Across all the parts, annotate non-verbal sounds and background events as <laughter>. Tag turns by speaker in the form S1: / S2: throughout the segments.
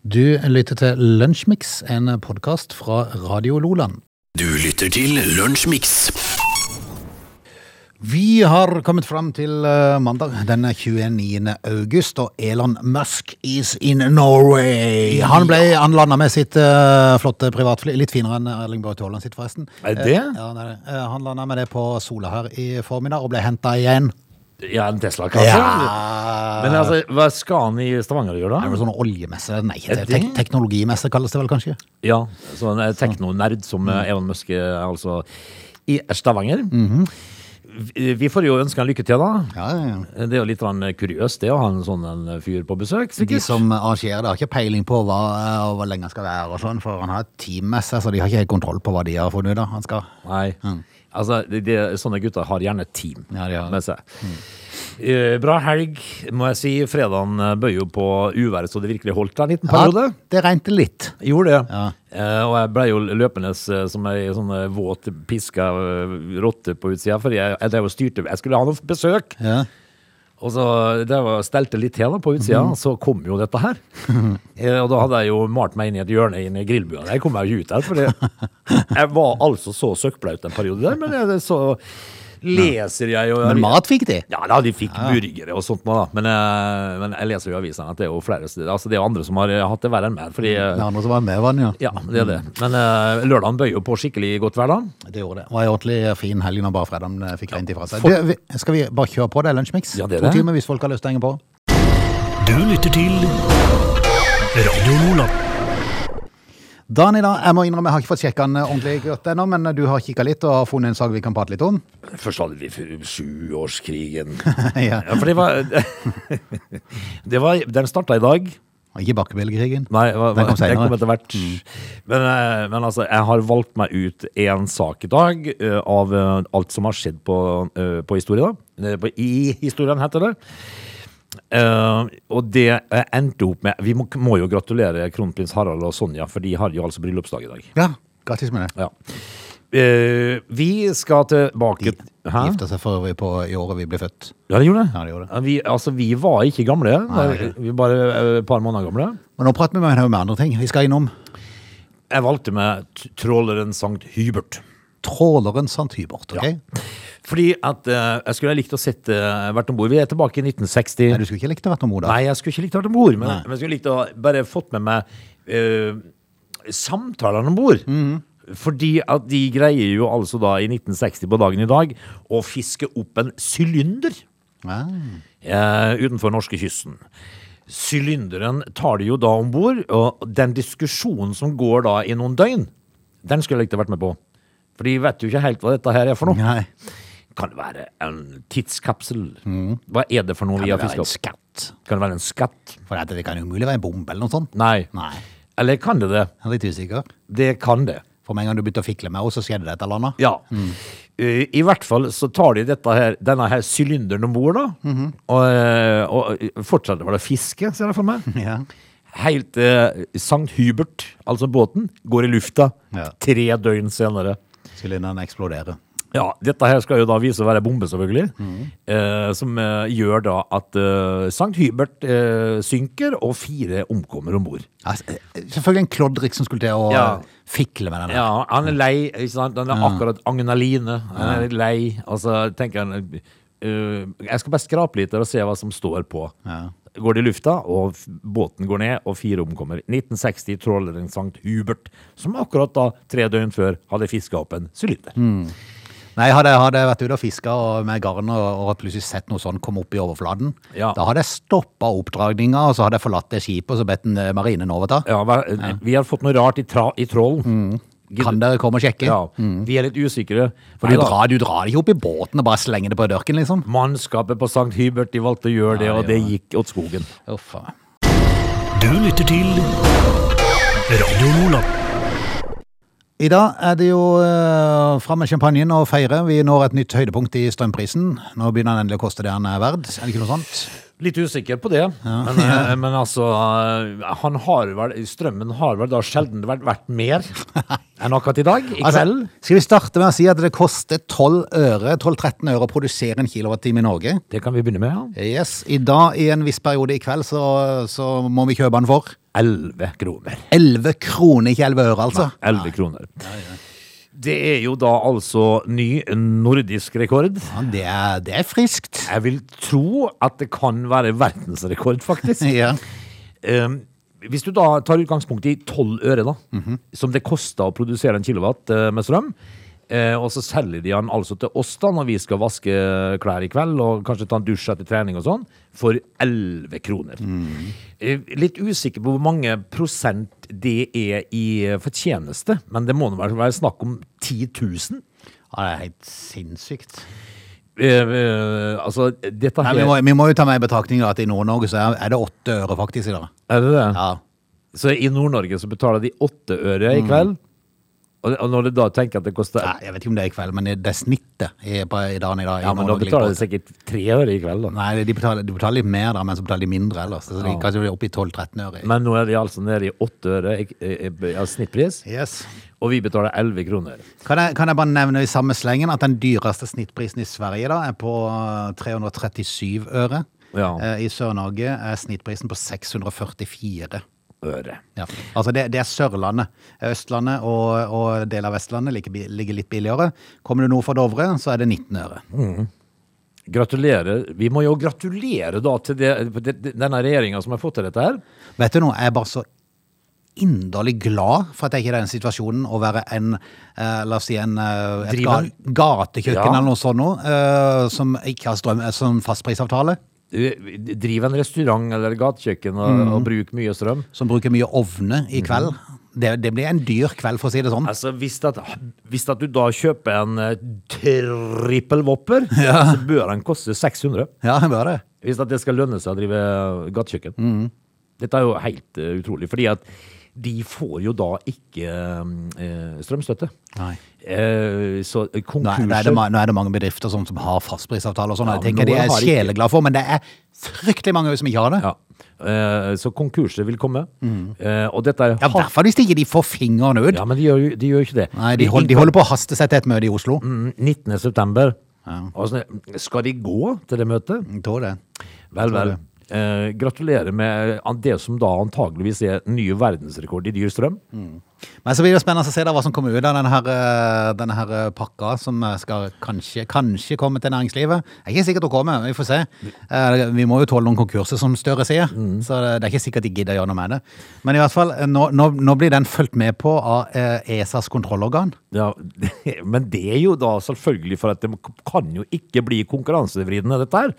S1: Du lytter til Lunsjmix, en podkast fra Radio Loland.
S2: Du lytter til Lunsjmix.
S1: Vi har kommet fram til eh, mandag den 29. august, og Elon Musk is in Norway. Han, ble, han landa med sitt eh, flotte privatfly, litt finere enn Erling Braut Haaland sitt, forresten.
S3: Er det det?
S1: Eh, ja, det er det. Eh, han landa med det på Sola her i formiddag, og ble henta igjen.
S3: Ja, en Tesla-kasse. Men altså, hva skal han i Stavanger gjøre,
S1: Er
S3: da?
S1: det sånn oljemesse? Nei,
S3: Er det
S1: tek
S3: det?
S1: teknologimesse kalles det vel kanskje?
S3: Ja, sånn eh, teknonerd som eh, Elon Musk eh, er altså i Stavanger.
S1: Mhm.
S3: Vi- Vi får jo ønske han lykke til, da.
S1: Ja, ja, ja.
S3: Det er jo litt grann, eh, kuriøst det å ha en sånn en fyr på besøk,
S1: De
S3: sikkert.
S1: som arrangerer det, har ikke peiling på hva, eh, og hvor lenge han skal være og sånn, for han har et team med seg, så de har ikke helt kontroll på hva de har funnet ut av. Han skal
S3: Nei. Altså, det- det- sånne gutter har gjerne et team
S1: Mm. Ja, de har Mm. det.
S3: med seg. Eh, Bra helg, må jeg si. Fredagen eh, bøyer jo på uværet så det virkelig holdt en liten periode.
S1: Ja, det regnet litt.
S3: Gjorde det.
S1: Ja.
S3: Eh, og jeg ble jo løpende eh, som ei sånn eh, våt, piska eh, rotte på utsida, fordi jeg, jeg drev og styrte Jeg skulle ha noe besøk!
S1: Ja.
S3: Og så drev jeg og stelte litt til da på utsida, så kom jo dette her. eh, og da hadde jeg jo malt meg inn i et hjørne inn i grillbua. Jeg kom meg jo ikke ut der, for jeg var altså så søkkblaut en periode der, men jeg, så leser jeg og
S1: Men mat fikk de.
S3: ja da, de fikk burgere og sånt nå da Men, eh, men jeg leser jo i avisene at det er jo flere Altså det er jo andre som har eh, hatt det verre enn meg Fordi eh,
S1: Det andre som var med, var den jo.
S3: ja, det er det. Men eh, lørdagen bøyer jo på skikkelig godt hver dag.
S1: Det gjorde det. Det var en ordentlig fin helg når bare fredagen eh, fikk regnet ifra seg. Du, vi, skal vi bare kjøre på det, Lunsjmix?
S3: Ja, det
S1: to
S3: er det.
S1: timer hvis folk har lyst til å henge på.
S2: Du lytter til Radio Lola.
S1: Dagen i dag, jeg må innrømme, jeg har ikke fått sjekka den eh, ordentlig godt ennå, men eh, du har kikka litt og har funnet en sak vi kan prate litt om. <laughs>
S3: Først hadde vi f- sjuårskrigen.
S1: ja.
S3: <laughs> Ja, for det var, <laughs> det var Den starta i dag.
S1: Ikke Bakkebillekrigen.
S3: Nei, hva,
S1: Den
S3: hva,
S1: kom senere.
S3: den kom etter hvert. Men, eh, men altså, jeg har valgt meg ut én sak i dag eh, av eh, alt som har skjedd på, eh, på historien. Eh, På, I historien, heter det. Eh, og det jeg endte opp med Vi må, må jo gratulere kronprins Harald og Sonja, for de har jo altså bryllupsdag i dag.
S1: Ja, grattis med det.
S3: Ja. Eh, vi skal tilbake Hæ?
S1: Gifta seg for øvrig på i året vi ble født.
S3: Ja, det gjorde det.
S1: Ja, det gjorde det.
S3: Vi, altså, vi var ikke gamle.
S1: Nei, det er
S3: vi var bare eh, et par måneder gamle.
S1: Men nå prater vi med henne om andre ting. Vi skal innom
S3: Jeg valgte meg t- tråleren Sankt Hubert.
S1: tråleren Sant Hybert. ok?
S3: Fordi at eh, jeg skulle ha likt å sett eh, vært om bord. Vi er tilbake i
S1: Nei,
S3: 1960.
S1: du skulle ikke likt å vært noe moda.
S3: Nei, jeg skulle ikke likt å vært om bord, men,
S1: Nei.
S3: men jeg skulle likt å bare fått med meg eh, samtalene om bord. Fordi at de greier jo altså da i 1960 på dagen i dag å fiske opp en sylinder. eh, utenfor norskekysten. Sylinderen tar de jo da om bord, og den diskusjonen som går da i noen døgn, den skulle jeg ikke vært med på. For de vet jo ikke helt hva dette her er for noe.
S1: Nei. Mm.
S3: Kan det være en tidskapsel? Hva er det for noe
S1: Kan
S3: vi
S1: det
S3: har
S1: være
S3: fisket
S1: en
S3: opp?
S1: skatt?
S3: Kan det være en skatt?
S1: For dette, det kan jo umulig være en bombe eller noe sånt.
S3: Nei.
S1: Nei.
S3: Eller kan det det?
S1: Jeg er litt usikker.
S3: Det kan det.
S1: For med en gang du begynte å fikle med henne, så skjedde det et eller annet.
S3: Ja. Eh, I hvert fall så tar de dette her, denne her sylinderen om bord, da.
S1: Mm-hmm.
S3: og, eh, og fortsetter vel å fiske, ser jeg for meg.
S1: Ja.
S3: Helt eh, Sankt Hubert, altså båten, går i lufta
S1: Ja.
S3: tre døgn senere.
S1: Sylinderen eksploderer.
S3: Ja, Dette her skal jo da vise å være bombe, selvfølgelig. Eh, som eh, gjør da at eh, Sankt Hubert eh, synker, og fire omkommer om bord.
S1: Ja, s- eh, selvfølgelig en klodrik som skulle til å
S3: Ja.
S1: eh, fikle med den. der.
S3: Ja, han er lei. ikke sant? Han er akkurat Agnaline. Han er litt lei. Og så tenker han eh, Jeg skal bare skrape litt der og se hva som står på.
S1: Ja.
S3: Går det i lufta, og f- båten går ned, og fire omkommer. 1960 tråleren Sankt Hubert, som akkurat da, tre døgn før, hadde fiska opp en sylinder.
S1: Mm. Nei, hadde jeg hadde jeg vært ute og fiska med garn og, og hadde plutselig sett noe sånt komme opp i overflaten,
S3: Ja.
S1: da hadde jeg stoppa oppdragninga, og så hadde jeg forlatt det skipet og så bedt den, eh, marinen overta.
S3: Ja, hva- øh, Vi har fått noe rart i, tra i trålen.
S1: Mm. Kan dere komme og sjekke?
S3: Ja, Vi er litt usikre.
S1: For du
S3: Neida.
S1: drar, du drar ikke opp i båten og bare slenger det på dørken, liksom?
S3: Mannskapet på Sankt Hubert de valgte å gjøre det,
S1: Ja,
S3: og det gikk åt skogen.
S1: Uff, faen.
S2: Du lytter til Radio Lola.
S1: I dag er det jo eh, fram med champagnen og feire. Vi når et nytt høydepunkt i strømprisen. Nå begynner den endelig å koste det den er verd. Er det ikke noe sånt?
S3: Litt usikker på det, men, eh, men altså eh, han har vel, Strømmen har vel da sjelden vært verdt mer enn akkurat i dag, i
S1: Altså,
S3: kveld.
S1: skal vi starte med å si at det koster 12 øre, 12-13 øre å produsere en kilowattime i Norge?
S3: Det kan vi begynne med, ja.
S1: Yes, I dag, i en viss periode i kveld, så, så må vi kjøpe den for
S3: 11 kroner.
S1: 11 kroner, ikke 11 øre, altså.
S3: 11 kroner. Det er jo da altså ny nordisk rekord.
S1: Ja, det, er, det er friskt.
S3: Jeg vil tro at det kan være verdensrekord, faktisk.
S1: Ja.
S3: Ehm, hvis du da tar utgangspunkt i 12 øre, da,
S1: Mhm.
S3: som det kosta å produsere en kilowatt eh, med strøm, eh, og så selger de han altså til oss da når vi skal vaske klær i kveld og kanskje ta en dusj etter trening og sånn, for 11 kroner.
S1: Mhm.
S3: Eh, litt usikker på hvor mange prosent det er i eh, fortjeneste, men det må nå være- være snakk om 10 000.
S1: Ja, det er helt sinnssykt.
S3: Eh, eh, altså, dette
S1: Nei,
S3: her
S1: vi, må, vi må jo ta med i betraktning da, at i Nord-Norge så er- er det 8 øre faktisk i dag.
S3: Er det det?
S1: Ja.
S3: Så i Nord-Norge så betaler de åtte øre i kveld. Og, og når du da tenker at det koster
S1: Mm. Nei, jeg vet ikke om det er i kveld, men det er snittet i, på, i dagen i dag. i
S3: Ja, men da
S1: Nord-Norge ligger på
S3: betaler de sikkert tre øre i kveld, da.
S1: Nei, de betaler, de betaler litt mer da, men så betaler de mindre ellers. Så de
S3: Ja.
S1: kanskje blir oppe i 12-13 øre.
S3: Men nå er de altså nede i åtte øre i, i, i, av snittpris,
S1: Yes.
S3: og vi betaler elleve kroner.
S1: Kan jeg, kan jeg bare nevne i samme slengen at den dyreste snittprisen i Sverige da er på eh, 337 øre.
S3: Ja.
S1: Eh, I Sør-Norge er snittprisen på 644.
S3: Øre.
S1: Ja. Altså det, det er Sørlandet. Østlandet og, og deler av Vestlandet ligger, bi- ligger litt billigere. Kommer du nord for Dovre, så er det 19 øre.
S3: Gratulerer. Vi må jo gratulere da til det, det, det- denne regjeringa som har fått til dette her.
S1: Vet du noe, jeg er bare så inderlig glad for at jeg ikke er i den situasjonen å være en, eh, la oss si en, eh, et ga,
S3: Driven.
S1: gatekjøkken
S3: Ja.
S1: eller noe sånt nå, eh, som ikke har strøm eh, som fastprisavtale,
S3: Eh, Driv en restaurant eller gatekjøkken og,
S1: Mm.
S3: og bruk mye strøm.
S1: som bruker mye ovne i kveld. Det, det blir en dyr kveld, for å si det sånn.
S3: Altså, hvis, at, hvis at du da kjøper en eh, trippelvopper, så bør den koste 600.
S1: Ja, det bør det.
S3: Hvis at det skal lønne seg å drive gatekjøkken.
S1: Mm.
S3: Dette er jo helt eh, utrolig, fordi at de får jo da ikke eh, strømstøtte.
S1: Nei.
S3: Eh,
S1: Nå
S3: så
S1: er,
S3: konkurser
S1: nå, er det, ma- nå er det mange bedrifter sånn, som har fastprisavtale og sånn, og jeg
S3: Ja,
S1: tenker det
S3: noen
S1: er
S3: har ikke.
S1: sjeleglad for, men det er fryktelig mange som ikke har det.
S3: ja. eh, Så konkurser vil komme. Eh, og dette er
S1: Mm. Ja, i hvert fall hvis ikke de får fingeren ut.
S3: Ja, men de gjør jo de gjør jo ikke det.
S1: Nei, de, hold, de holder på å haste seg til et møte i Oslo.
S3: Mm, 19. september. Og sånn, skal de gå til det møtet?
S1: Jeg tror Mm. det.
S3: Vel,
S1: Tror
S3: vel. Eh, gratulerer med an- det som da antageligvis er ny verdensrekord i dyr strøm.
S1: Men så blir det spennende å se da hva som kommer ut av denne her, eh, denne her eh, pakka som eh, skal kanskje, kanskje komme til næringslivet. Det er ikke sikkert hun kommer, vi får se. Eh, Vi må jo tåle noen konkurser, som Støre sier.
S3: Mm.
S1: Så det er ikke sikkert de gidder å gjøre noe med det. Men i hvert fall, eh, nå, nå, nå blir den fulgt med på av eh, ESAs kontrollorgan.
S3: Ja, <laughs> men det er jo da selvfølgelig for at det kan jo ikke bli konkurransevridende, dette her.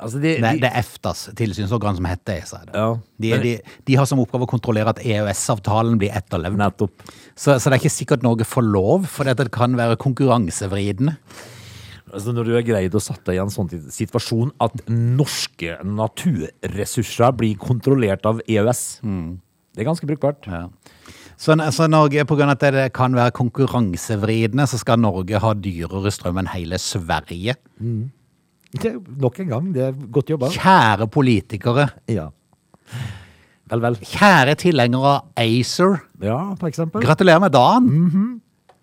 S3: Altså, det,
S1: Det,
S3: de-
S1: det er EFTAs tilsynsorgan som heter ESA. er det.
S3: Ja.
S1: De, de, de har som oppgave å kontrollere at EØS-avtalen blir etterlevd.
S3: Nettopp.
S1: Så, så det er ikke sikkert Norge får lov, for dette kan være konkurransevridende.
S3: Altså, når du har greid å sette deg i en sånn tit- situasjon at norske naturressurser blir kontrollert av EØS, det er ganske brukbart.
S1: Så, så Norge, på grunn av at det kan være konkurransevridende, så skal Norge ha dyrere strøm enn hele Sverige.
S3: Det, er nok en gang, det er godt jobba.
S1: Kjære politikere,
S3: Ja. Vel, vel.
S1: kjære tilhengere av ACER.
S3: Ja, for eksempel.
S1: Gratulerer med dagen!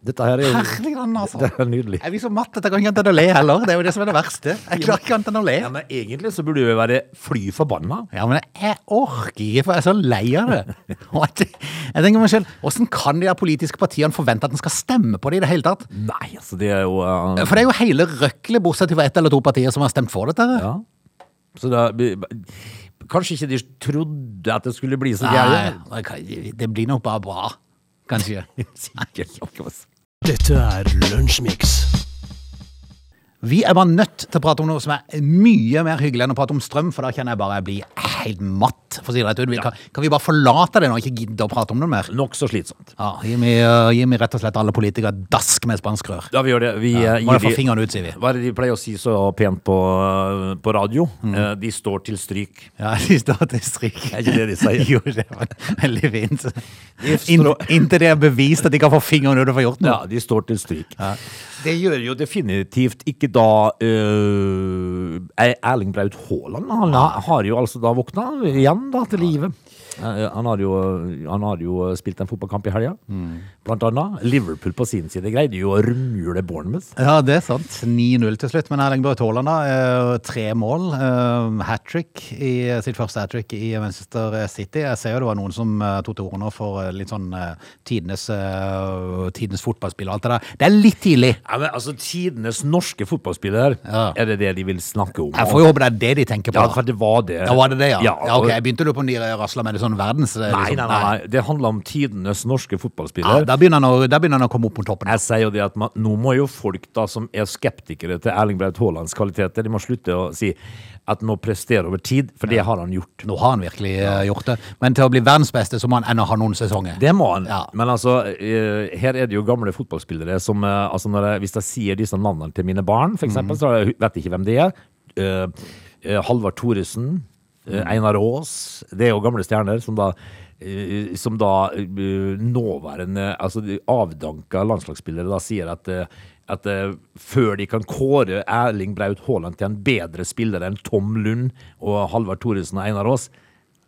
S3: Dette her er jo
S1: Herligland, altså.
S3: Mm. det er nydelig.
S1: Jeg blir så matt at jeg kan ikke annet enn å le heller. Det er jo det som er det verste. Jeg klarer ikke annet enn å le.
S3: Ja, men egentlig så burde vi være fly forbanna.
S1: Ja, men jeg orker ikke, for jeg er så lei av det. Og jeg jeg tenker meg selv, hvordan kan de der politiske partiene forvente at en skal stemme på det i det hele tatt?
S3: Nei, altså, det er jo eh,
S1: For det er jo hele røkkelet, bortsett fra ett eller to partier som har stemt for dette. her.
S3: Ja. Så da, kanskje ikke de trodde at det skulle bli så gærent.
S1: Nei, det kan- det blir nok bare bra, kanskje.
S3: <laughs>
S2: Dette er Lunsjmix.
S1: Vi er bare nødt til å prate om noe som er mye mer hyggelig enn å prate om strøm, for da kjenner jeg bare jeg blir helt matt. For å si det rett ut. Vi Kan, kan vi bare forlate det nå og ikke gidde å prate om det mer?
S3: Nokså slitsomt.
S1: Ja, gi meg, øh, gi meg rett og slett alle politikere dask med spansk rør.
S3: Da vi gjør det. Vi, eh,
S1: Må jeg
S3: gir
S1: få
S3: de-
S1: fingeren ut, sier vi.
S3: Hva er det de pleier å si så pent på, eh, på radio?
S1: Mm.
S3: Eh, De står til stryk.
S1: Ja, <laughs> de står til stryk.
S3: Er ikke det de sier?
S1: <laughs> Jo, det var veldig fint.
S3: If
S1: In,
S3: strå-
S1: inntil det er bevist at de kan få fingeren ut og få gjort noe.
S3: Ja, de står til stryk. Det gjør jo definitivt ikke da eh, Erling Braut Haaland. Han har- har jo altså da våkna igjen da til livet. Eh, Han har jo, han har jo spilt en fotballkamp i helga,
S1: Mm.
S3: blant annet. Liverpool på sin side greide jo å rømjule Bournemouth.
S1: Ja, det er sant. 9-0 til slutt. Men Erling Braut Haaland, da. eh, Tre mål. Hat trick i sitt første hat trick i Manchester City. Jeg ser jo det var noen som eh, tok til ordene for eh, litt sånn eh, tidenes, eh, tidenes fotballspill og alt det der. Det er litt tidlig.
S3: Ja, men altså, Tidenes norske fotballspiller,
S1: Ja.
S3: er det det de vil snakke om?
S1: Jeg får jo håpe det er det de tenker på.
S3: Ja,
S1: da.
S3: for det var det.
S1: Ja, var det det, ja? Ja, ok,
S3: og-
S1: Jeg begynte å lure på om de rasla med det sånn verdens... eh,
S3: Nei,
S1: liksom.
S3: nei, nei, nei. Det handler om tidenes norske
S1: Ja,
S3: fotballspiller.
S1: der, begynner han å, der begynner han å komme opp mot toppen.
S3: Jeg sier jo det at man, Nå må jo folk da som er skeptikere til Erling Braut Haalands kvaliteter, de må slutte å si at han må prestere over tid, for det har han gjort.
S1: Nå har han virkelig eh, gjort det. Men til å bli verdens beste så må han ennå ha noen sesonger.
S3: Det må han.
S1: Ja.
S3: Men altså, eh, her er det jo gamle fotballspillere som eh, altså når jeg, Hvis jeg sier disse navnene til mine barn, f.eks., eksempel, så har jeg- vet jeg ikke hvem de er. Eh, eh, Halvard Thoresen, eh, Einar Aas. Det er jo gamle stjerner som da eh, som da eh, nåværende altså de avdanka landslagsspillere da sier at, eh, at eh, før de kan kåre Erling Braut Haaland til en bedre spiller enn Tom Lund og Halvard Thoresen og Einar Aas,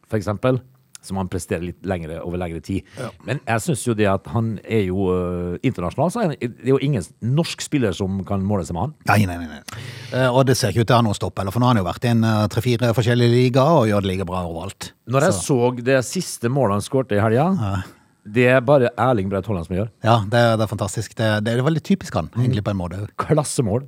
S3: for eksempel, så må han prestere litt lengre, over lengre tid. Men jeg syns jo det at han er jo eh, internasjonal, så er han- det er jo ingen norsk spiller som kan måle seg med han.
S1: Nei, nei, nei. nei. Eh, og det ser ikke ut til å ha noen stopp heller, for nå har han jo vært i en eh, tre-fire forskjellige ligaer og gjør det like bra overalt.
S3: Når jeg så, det siste målet han skårte i helga, det er bare Erling Braut Haaland som gjør.
S1: Ja, det, er- det er fantastisk. Det, det er veldig typisk han,
S3: Mm.
S1: egentlig, på en måte.
S3: Klassemål.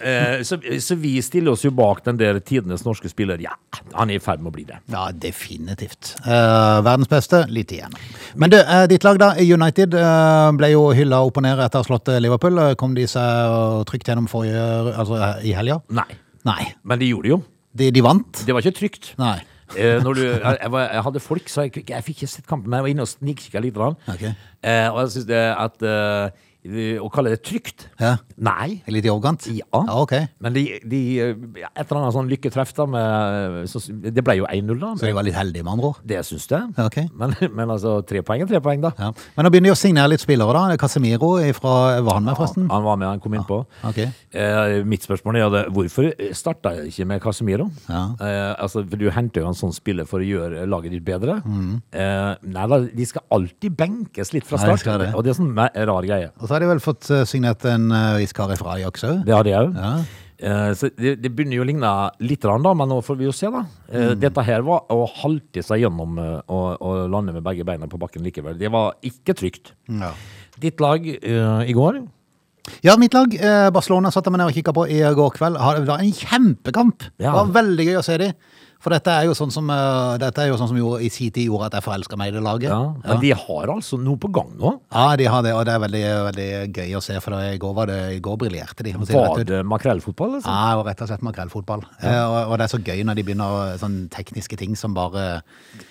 S3: Eh, så, så vi stiller oss jo bak den der tidenes norske spiller. Ja, han er i ferd med å bli det.
S1: Ja, definitivt. Eh, verdens beste, litt igjen. Men du, eh, ditt lag, da, United, eh, ble jo hylla opp og ned etter å ha slått eh, Liverpool. Eh, Kom de seg eh, trygt gjennom forrige, altså eh, i helga?
S3: Nei.
S1: Nei.
S3: Men de gjorde det jo.
S1: De, de vant?
S3: Det var ikke trygt.
S1: Nei.
S3: Eh, når du, jeg, jeg, var, jeg hadde folk, så jeg, jeg fikk ikke sett kampen, men jeg var inne og snikkikka litt. grann.
S1: Ok.
S3: Eh, og jeg synes det at eh, Å kalle det trygt
S1: Ja.
S3: Nei.
S1: Litt i overkant?
S3: Ja.
S1: ja ok.
S3: Men de, de eh, Et eller annet sånn lykketreff, da. Med, så, det ble jo 1-0, da.
S1: Så de var litt heldige, med andre ord?
S3: Det syns jeg.
S1: Ok.
S3: Men, men altså, tre poeng er tre poeng, da.
S1: Ja. Men nå begynner de å signere litt spillere, da. Casemiro fra Var han med, forresten?
S3: Han var med, han kom innpå.
S1: ok.
S3: Eh, mitt spørsmål er det, hvorfor starta jeg ikke med Casemiro?
S1: Ja.
S3: Eh, altså, for du henter jo en sånn spiller for å gjøre laget ditt bedre. Eh, nei da, de skal alltid benkes litt fra
S1: Mm. Nei, de
S3: start.
S1: skal det.
S3: og det er sånn me- rar greie.
S1: Og så har de vel fått eh, signert en eh, viss kar fra Ajax òg.
S3: Det har de òg.
S1: Ja.
S3: Eh, så det, det begynner jo å ligne litt, rann da, men nå får vi jo se, da. Eh,
S1: Mm.
S3: Dette her var å halte seg gjennom eh, og, og lande med begge beina på bakken likevel. Det var ikke trygt.
S1: Ja.
S3: Ditt lag eh, i går
S1: ja, mitt lag, eh, Barcelona, satt jeg meg ned og kikka på i går kveld. Har- Det var en kjempekamp! Det
S3: Ja.
S1: var veldig gøy å se de. For dette er jo sånn som, eh, dette er jo sånn som jo i sin tid gjorde at jeg forelska meg i det laget.
S3: ja. Men de har altså noe på gang nå.
S1: Ja, de har det, og det er veldig, veldig gøy å se, for det- i går, var det- i går briljerte de. for å si det altså? rett
S3: Var
S1: ut.
S3: det makrellfotball? Liksom?
S1: Ja, og rett og slett makrellfotball. Eh, og, og det er så gøy når de begynner å- sånn tekniske ting som bare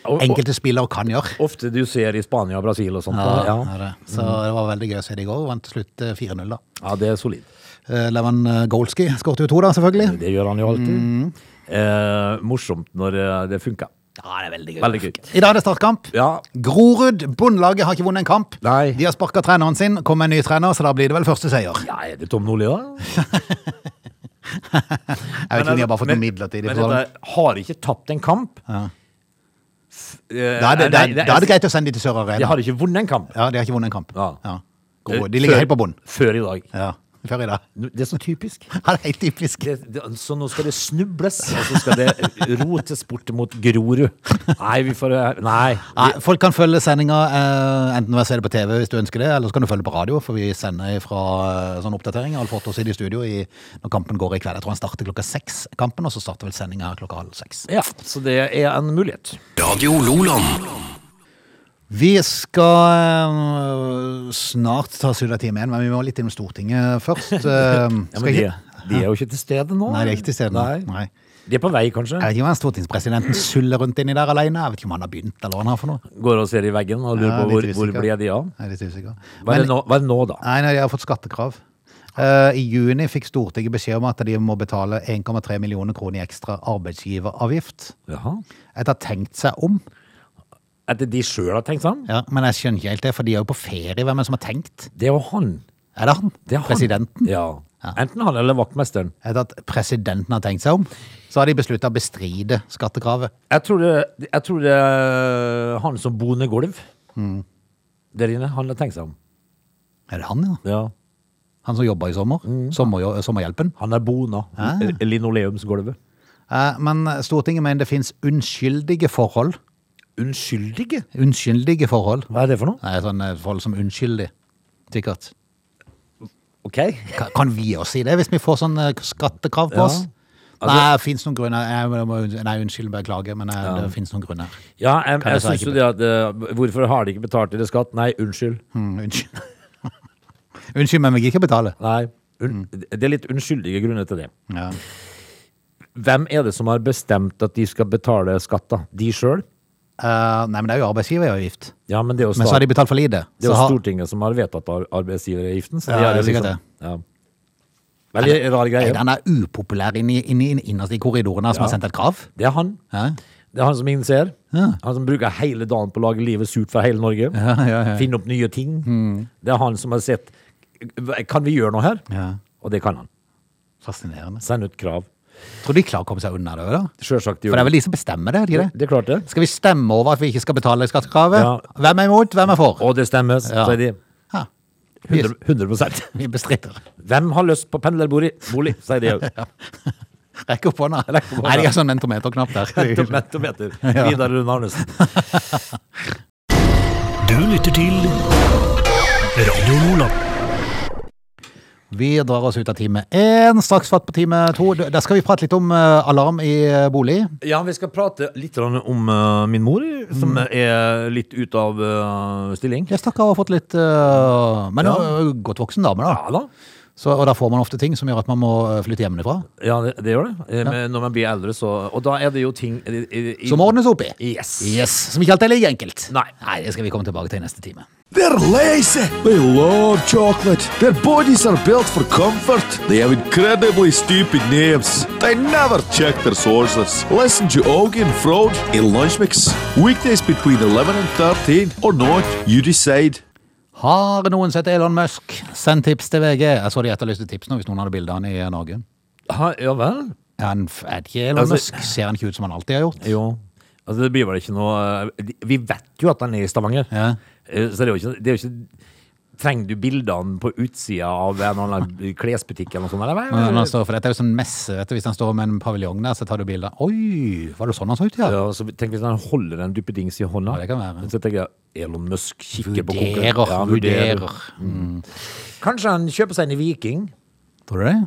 S3: Og- og-
S1: enkelte spillere kan gjøre.
S3: Ofte du ser i Spania og Brasil og sånt.
S1: Ja,
S3: Ja, Mm.
S1: det
S3: ja.
S1: er det. Så det var veldig gøy å se det i går. Vant til slutt eh, 4-0, da.
S3: det er solid.
S1: Eh, Levan eh, Golski skåret jo to, da, selvfølgelig.
S3: Det gjør han jo alltid.
S1: Mm.
S3: Eh, morsomt når eh, det funker.
S1: Ja, det er veldig gøy.
S3: Veldig gøy.
S1: I dag er det startkamp.
S3: Ja.
S1: Grorud, bondelaget, har ikke vunnet en kamp.
S3: Nei.
S1: De har sparka treneren sin, kom med en ny trener, så da blir det vel første seier.
S3: ja, er det Tom Nordli, da?
S1: Jeg vet ikke om de har bare fått noe midlertidig.
S3: Men
S1: på sånn.
S3: dette har ikke tapt en kamp. F- eh,
S1: Da er det, da
S3: nei,
S1: er- da er det greit å sende de til Sør
S3: De
S1: Arena.
S3: har ikke vunnet en kamp.
S1: Ja, de har ikke vunnet en kamp.
S3: Ja.
S1: Ja. Grorud. De ligger
S3: Før-
S1: helt på bunnen.
S3: Før i dag.
S1: Ja. Før i dag. <laughs>
S3: Det er så typisk.
S1: Ja, det er helt typisk.
S3: Det, det, så nå skal det snubles, og så skal det rotes bort mot Grorud. Nei, vi får eh, Nei.
S1: Nei, folk kan følge sendinga eh, enten ved å se det på TV hvis du ønsker det, eller så kan du følge på radio, for vi sender fra eh, sånn oppdatering. Alf Otto sitter i studio i, når kampen går i kveld. Jeg tror han starter klokka seks, kampen, og så starter vel sendinga her klokka halv seks.
S3: Ja, så det er en mulighet.
S2: Radio Loland.
S1: Vi skal eh, snart ta Sydda-time igjen, men vi må litt innom Stortinget først.
S3: <laughs>
S1: Eh,
S3: Ja,
S1: skal
S3: men de,
S1: ikke...
S3: de er jo ikke til stede nå.
S1: Nei, det er ikke til stede. nå.
S3: Nei.
S1: Nei.
S3: De er på vei, kanskje.
S1: Jeg vet ikke om han stortingspresidenten suller rundt inni der alene. Jeg vet ikke om han har begynt, eller hva han har for noe.
S3: Går og ser i veggen og lurer
S1: Ja,
S3: på hvor,
S1: litt
S3: hvor
S1: usikker.
S3: ble de av.
S1: Jeg er litt usikker.
S3: Hva er,
S1: Men-
S3: det nå, hva er det nå, da?
S1: Nei, nei, de har fått skattekrav. Eh, I juni fikk Stortinget beskjed om at de må betale 1,3 millioner kroner i ekstra arbeidsgiveravgift.
S3: Jaha.
S1: Etter å ha tenkt seg om.
S3: At de sjøl har tenkt sånn?
S1: Ja, men jeg skjønner ikke helt det, for de er jo på ferie. Hvem er det som har tenkt?
S3: Det er jo han.
S1: Er det han?
S3: Det er han.
S1: Presidenten?
S3: Ja. Enten han eller vaktmesteren.
S1: Etter at presidenten har tenkt seg om, så har de beslutta å bestride skattekravet.
S3: Jeg tror det, jeg tror det er han som bonegolv
S1: Mm.
S3: der inne, han har tenkt seg om.
S1: Er det han, ja?
S3: Ja.
S1: Han som jobba i sommer? Sommerjo- sommerhjelpen?
S3: Han er bona.
S1: Ah.
S3: L- Linoleumsgulvet.
S1: Eh, men Stortinget mener det fins unnskyldige forhold.
S3: Unnskyldige?
S1: Unnskyldige forhold.
S3: Hva er det for noe?
S1: Nei, sånne forhold som unnskyldig. Sikkert.
S3: Ok.
S1: Ka- Kan vi også si det, hvis vi får sånn eh, skattekrav på
S3: Ja.
S1: oss?
S3: Altså-
S1: nei, det fins noen grunner. Jeg må, nei, unnskyld, beklager, men eh, det fins noen grunner.
S3: Ja, jeg,
S1: jeg
S3: jeg
S1: svare
S3: syns jo det at eh, Hvorfor har de ikke betalt dere skatt? Nei, unnskyld.
S1: Mm, unnskyld. <laughs> unnskyld, men vi gidder ikke betale.
S3: Nei. Un
S1: Mm.
S3: Det er litt unnskyldige grunner til det.
S1: Ja.
S3: Hvem er det som har bestemt at de skal betale skatt, da? De sjøl?
S1: Eh, nei, men det er jo arbeidsgiveravgift.
S3: Ja, men det er jo,
S1: Men så
S3: sta-
S1: har de betalt for lite.
S3: det er
S1: Så
S3: jo
S1: har-
S3: Stortinget som har vedtatt ar- arbeidsgiveravgiften. Så
S1: Ja,
S3: de har
S1: det er
S3: jo
S1: sikkert
S3: liksom, ja. Veldig rar
S1: Er
S3: greie.
S1: det han er upopulær inni, inni, inni- innerst i korridorene som har sendt et krav?
S3: Det er han.
S1: Ja.
S3: Det er han som innser.
S1: Ja.
S3: Han som bruker hele dagen på å lage livet surt for hele Norge.
S1: Ja, ja, Mm. ja.
S3: Finne opp nye ting. Det er han som har sett Kan vi gjøre noe her?
S1: Ja.
S3: Og det kan han.
S1: Fascinerende.
S3: Send ut krav.
S1: Tror de klarer å komme seg unna det? da?
S3: Sjølsagt
S1: For det
S3: gjør
S1: er vel de som bestemmer det? er det Ikke det?
S3: Det klarte det.
S1: Skal vi stemme over at vi ikke skal betale skattekravet?
S3: Ja.
S1: Hvem er imot, hvem er for?
S3: Og det stemmer,
S1: Ja.
S3: sier de.
S1: Ja. Vi,
S3: 100, 100%.
S1: vi bestrider.
S3: Hvem har lyst på pendlerbolig? Bolig,
S1: <laughs>
S3: sier de òg.
S1: Rekk opp hånda.
S3: Rekk opp hånda.
S1: Nei, de har sånn mentometerknapp
S3: <laughs>
S1: der. <laughs>
S3: Mentometer. Vidar Lund Arnesen.
S2: Du lytter til Radio Nordland.
S1: Vi drar oss ut av time én, straks fatt på time to. Der skal vi prate litt om eh, alarm i eh, bolig.
S3: Ja, vi skal prate litt grann om eh, min mor, som
S1: Mm.
S3: er litt ute av eh, stilling.
S1: Jeg stakkar har fått litt eh, Men eh, godt voksen dame, da.
S3: Ja da.
S1: Så, og da får man ofte ting som gjør at man må eh, flytte hjemmefra.
S3: Ja, det, det gjør det. Eh, Men når man blir eldre, så Og da er det jo ting i, i, i,
S1: Som må ordnes opp i.
S3: Yes.
S1: Yes, Som ikke alltid er like enkelt.
S3: Nei.
S1: det skal vi komme tilbake til i neste time.
S4: They're lazy. They love chocolate. Their bodies are built for comfort. They have incredibly stupid names. They never check their sources. Listen to Augie and Frode in Lunch Mix. Weekdays between 11 and 13 or not, you decide.
S1: Har noen sett Elon Musk? Send tips til VG. Jeg så de etterlyste tips nå, hvis noen hadde bilde av han i Norge.
S3: Ha, ja vel?
S1: Er Han, er det ikke Elon
S3: Altså-
S1: Musk? Ser han ikke ut som han alltid har gjort?
S3: Jo. Altså, det blir vel ikke noe eh, de- Vi vet jo at han er i Stavanger.
S1: Ja.
S3: Eh, Så det er jo ikke, det er jo ikke Trenger du bildene på utsida av en
S1: <laughs>
S3: eller annen klesbutikk eller noe sånt? Eller? hva?
S1: Men han står, for dette er jo sånn messe, vet du. Hvis han står med en paviljong der, så tar du bilde. Oi, var det sånn han så ut, ja?
S3: Ja, så tenk hvis han holder en duppedings i hånda.
S1: Ja, det kan være.
S3: Så tenker jeg Elon Musk kikker på
S1: Vurderer,
S3: Ja,
S1: vurderer.
S3: Kanskje han kjøper seg en Viking?
S1: Tror du det?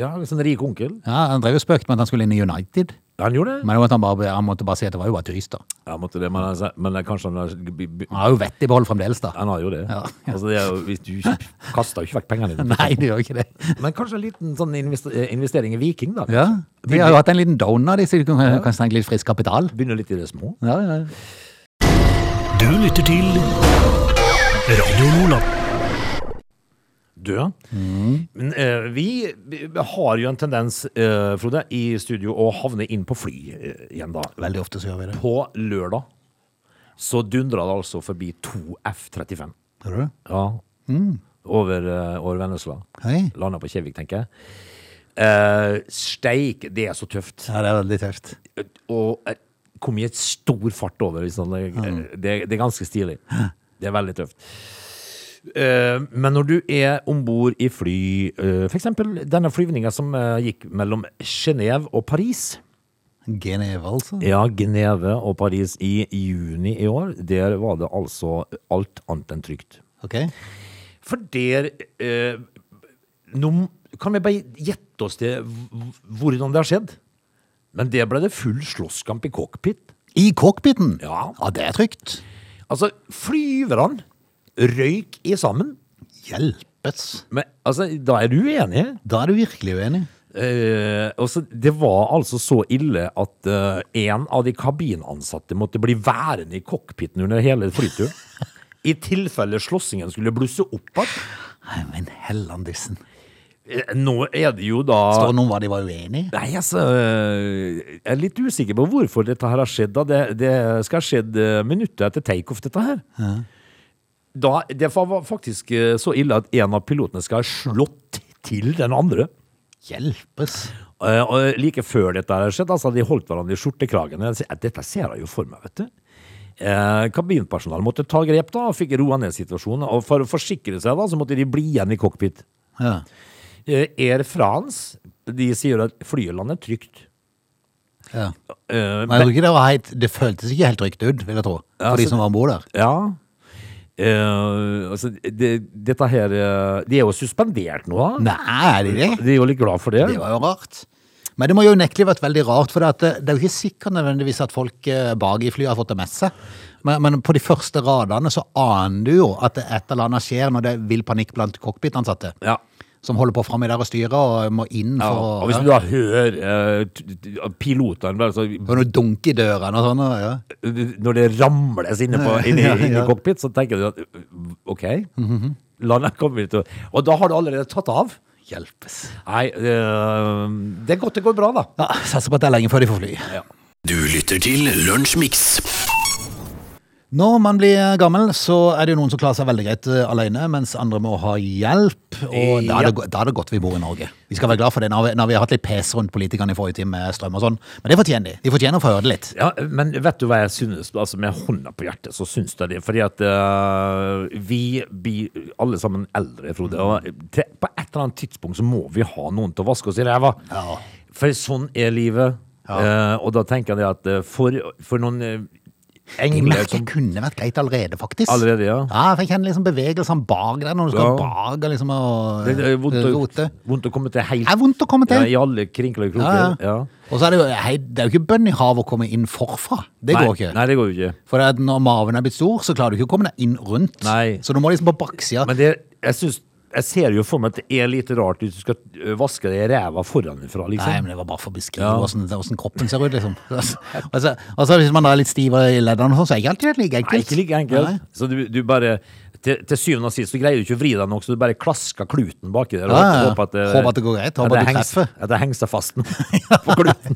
S3: Ja, en sånn rik onkel.
S1: Ja, Han drev jo spøkt med at han skulle inn i United.
S3: Han gjorde det.
S1: Men det var at han, bare, han måtte bare si at det var jo bare tøys, da.
S3: Ja, måtte det, men, han sa- men kanskje han har b- b-
S1: Han har jo vett i behold fremdeles, da.
S3: Han har jo det.
S1: Ja.
S3: Altså, det er jo, hvis du ikke- kaster jo ikke vekk pengene dine.
S1: <laughs> Nei, det gjør ikke det.
S3: Men kanskje en liten sånn invester- eh, investering i Viking, da.
S1: Ja, De har jo hatt en liten donor, de, så de kan kan trenge litt frisk kapital.
S3: Begynner litt i det små.
S1: Ja, ja.
S2: Du lytter til Radio Nordland.
S3: Død. Men eh, vi vi har jo en tendens, eh, Frode, i studio å havne inn på fly eh, igjen, da.
S1: Veldig ofte så gjør vi det.
S3: På lørdag så dundra det altså forbi to F-35.
S1: Hører du?
S3: Ja. Over, eh, over Vennesla.
S1: Hei.
S3: Landa på Kjevik, tenker jeg. Eh, steik, det er så tøft.
S1: Ja, det er veldig tøft.
S3: Og eh, kom i et stor fart over. Liksom. Det, eh, det, det er ganske stilig. Det er veldig tøft. Eh, men når du er om bord i fly, eh, for f.eks. denne flyvninga som eh, gikk mellom Genéve og Paris
S1: Geneve, altså.
S3: Ja, Geneve og Paris i juni i år, der var det altså alt annet enn trygt.
S1: Ok.
S3: For der eh, nå kan vi bare gjette oss til hv- hvordan det har skjedd. Men der ble det full slåsskamp i cockpit.
S1: I cockpiten?
S3: Ja.
S1: ja, det er trygt.
S3: Altså, flyverne røyk i sammen.
S1: Hjelpes.
S3: Men altså, da er du enig?
S1: Da er du virkelig uenig.
S3: Eh, og så- det var altså så ille at eh, en av de kabinansatte måtte bli værende i cockpiten under hele flyturen. I tilfelle slåssingen skulle blusse opp igjen.
S1: Nei, men hellandissen.
S3: Eh, Nå er det jo da
S1: Står det noe om hva de var uenige i?
S3: Nei, altså øh, Jeg er litt usikker på hvorfor dette her har skjedd. Da. Det, det skal ha skjedd øh, minutter etter takeoff, dette her. Da, det fa- var faktisk øh, så ille at en av pilotene skal ha slått til den andre.
S1: Hjelpes.
S3: Eh, Og like før dette her skjedde, altså hadde de holdt hverandre i skjortekragen. Jeg sier, Dette ser jeg jo for meg, vet du. Eh, kabinpersonalet måtte ta grep da, og fikk roa ned situasjonen. Og for å forsikre seg da, så måtte de bli igjen i cockpit.
S1: Ja.
S3: Eh, Air France, de sier at flyet lander trygt.
S1: Ja.
S3: Eh,
S1: Men jeg tror ikke det var helt Det føltes ikke helt trygt ut, vil jeg tro. For
S3: Ja,
S1: de
S3: så-
S1: som var om bord der.
S3: Ja. Eh, altså, det, dette her eh, De er jo suspendert nå, da.
S1: Nei, er de det?
S3: De er jo litt glad for det.
S1: Det var jo rart. Men det må jo unektelig vært veldig rart, for det, at det, det er jo ikke sikkert nødvendigvis at folk eh, bak i flyet har fått det med seg. Men, men på de første radene så aner du jo at det et eller annet skjer når det er vill panikk blant cockpitansatte.
S3: Ja.
S1: Som holder på framme der og styrer og må inn
S3: Ja,
S1: for
S3: og
S1: å
S3: hvis du da hører eh, t- t- pilotene bare så-
S1: og noe dunk i dørene og sånn. og Ja.
S3: Når det ramles inne på, inni,
S1: Ja, Mhm. ja.
S3: inni cockpit, så tenker du at OK, landet kommer til å Og da har du allerede tatt av.
S1: Hjelpes.
S3: Nei, eh, det er godt det går bra, da.
S1: Ja, Satser på at det er lenge før de får fly.
S2: Du lytter til Lunsjmix.
S1: Når man blir gammel, så er det jo noen som klarer seg veldig greit eh, alene, mens andre må ha hjelp. Og da er, det,
S3: Eh, Ja.
S1: go- da er det godt vi bor i Norge. Vi skal være glad for det. Nå har vi, nå har vi hatt litt pes rundt politikerne i forrige time med strøm og sånn, men det fortjener de. De fortjener å få høre det litt.
S3: Ja, men vet du hva jeg synes? Altså, med hånda på hjertet så synes jeg det. Fordi at eh, vi blir alle sammen eldre, Frode. Og til, på et eller annet tidspunkt så må vi ha noen til å vaske oss i ræva.
S1: Ja.
S3: For sånn er livet. Eh, og da tenker jeg det at eh, for, for noen eh,
S1: De
S3: engler
S1: merker
S3: som
S1: kunne vært greit allerede, faktisk.
S3: Allerede, ja.
S1: Ja, for jeg kjenner liksom bevegelsene bak der, når du skal
S3: Ja.
S1: bak og liksom og
S3: Det er eh, vondt å,
S1: rote.
S3: vondt å komme til helt
S1: Det er vondt å komme til.
S3: Ja, I alle krinkler og
S1: Ja,
S3: kroker.
S1: ja. Og så er det jo, hei, det er jo ikke bønn i havet å komme inn forfra. Det
S3: nei,
S1: går ikke.
S3: Nei, det går jo ikke.
S1: For at når maven er blitt stor, så klarer du ikke å komme deg inn rundt.
S3: Nei.
S1: Så du må liksom på baksida.
S3: Men det, jeg synes jeg ser jo for meg at det er litt rart hvis du skal ø, vaske deg i ræva foranfra, liksom.
S1: Nei, men det var bare for å beskrive
S3: Ja.
S1: hvordan, hvordan kroppen ser ut, liksom. <laughs> Og så, og så hvis man da er litt stivere i leddene, og sånn, så er ikke alltid det like enkelt.
S3: Nei, ikke like enkelt.
S1: Nei.
S3: Så du, du bare til, til syvende og sist så greier du ikke å vri deg nok, så du bare klasker kluten baki der. og
S1: Ja, ja, ja.
S3: håper at det-
S1: Håper at det går greit, håper
S3: at det
S1: at du
S3: hengs-
S1: treffer.
S3: At det henger seg fast
S1: <laughs>
S3: på kluten.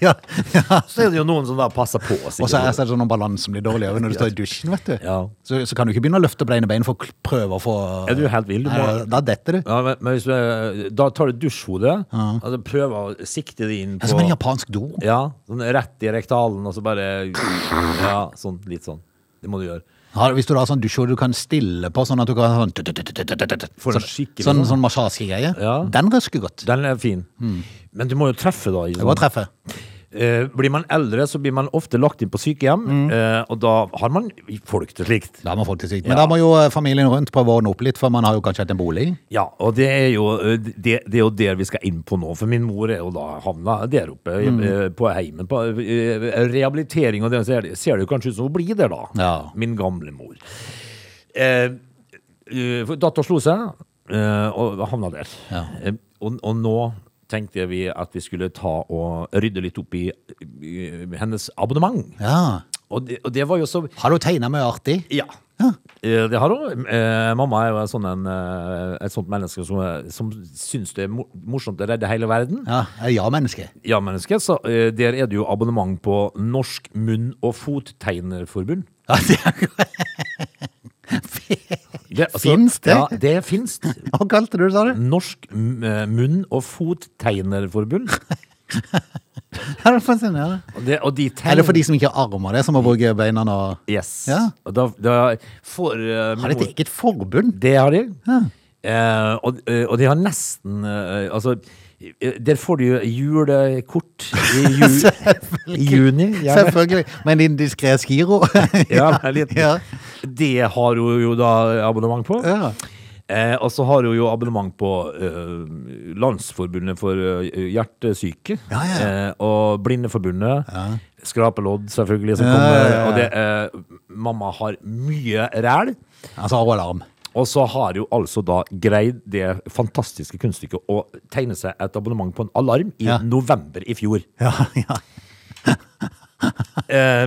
S1: ja,
S3: <laughs>
S1: ja.
S3: Så er det jo noen som da passer på. sikkert.
S1: Og så er så er det sånn om balansen blir dårlig også når du står i dusjen, vet du.
S3: Ja.
S1: Så, så kan du ikke begynne å løfte opp det ene beinet for å kl- prøve å få
S3: Ja, du er helt vill, du
S1: Nei,
S3: må-
S1: Da detter du.
S3: ja, men, men hvis du, ø, da tar du dusjhodet, og så prøver å sikte det inn
S1: Det er som en
S3: på
S1: japansk do.
S3: Ja, sånn rett i rektalen, og så bare Ja, sånn, litt sånn. Det må du gjøre.
S1: Ja, hvis du har sånn dusjhode du kan stille på, sånn at du kan ha sånn tut-tut-tut-tut-tut-tut.
S3: Får en
S1: Sånn-
S3: skikkelig
S1: Sånn,
S3: sånn.
S1: sånn massasjegreie.
S3: Ja.
S1: Den røsker godt.
S3: Den er fin.
S1: Mm.
S3: Men du må jo treffe, da. i
S1: Det var
S3: sånn-
S1: treffet.
S3: Eh, blir man eldre, så blir man ofte lagt inn på sykehjem,
S1: Mm.
S3: eh, og da har man folk til slikt.
S1: Da må folk til sykt. Men da må jo eh, familien rundt prøve å ordne opp litt, for man har jo kanskje hatt en bolig.
S3: Ja, og det er, jo, eh, det, det er jo der vi skal inn på nå, for min mor er jo da havna der oppe
S1: Mm.
S3: eh, på heimen. På eh, rehabilitering, og det ser, ser det jo kanskje ut som hun blir der, da.
S1: Ja.
S3: Min gamle mor. Eh, eh, for Datter slo seg, eh, og havna der.
S1: Ja.
S3: Eh, og, og nå tenkte vi at vi skulle ta og rydde litt opp i eh, hennes abonnement.
S1: Ja.
S3: Og det, og det var jo så
S1: Har du tegna mye artig?
S3: Ja. Eh, Det har hun. Eh, mamma er jo en sånn en, eh, et sånt menneske som, er- som syns det er mo- morsomt å redde hele verden.
S1: Ja, jeg er ja-menneske.
S3: Ja-menneske. Så eh, der er det jo abonnement på Norsk munn- og fottegnerforbund.
S1: Ja, det er-
S3: Det, altså,
S1: Finns det?
S3: Ja, det fins.
S1: <laughs> Hva kalte du det, sa du?
S3: Norsk m- eh, munn- og fottegnerforbund.
S1: Ja, det er fascinerende.
S3: Og, det, og de tegner
S1: Er det for de som ikke har armer, det, som må bruke beina og
S3: Yes.
S1: Ja.
S3: Og da, da får eh,
S1: Har de et eget forbund?
S3: Det har de.
S1: Ja.
S3: Eh, og, eh, og de har nesten eh, Altså, eh, der får du jo julekort
S1: <laughs>
S3: i, ju, i juni. gjerne.
S1: Selvfølgelig. Med en diskré skiro.
S3: Ja, det er litt-
S1: <laughs> Ja.
S3: Det har hun jo da abonnement på.
S1: <laughs> Ja.
S3: Eh, og så har hun jo abonnement på eh, Landsforbundet for eh, hjertesyke.
S1: Ja, ja, ja.
S3: Eh, og Blindeforbundet. Skrapelodd, selvfølgelig. Som
S1: Ja,
S3: kommer,
S1: ja, ja.
S3: Og det, eh, mamma har mye ræl.
S1: Altså har hun alarm.
S3: Og så har jo altså da greid det fantastiske kunststykket å tegne seg et abonnement på en alarm i
S1: Ja.
S3: november i fjor.
S1: Ja, ja.
S3: Eh,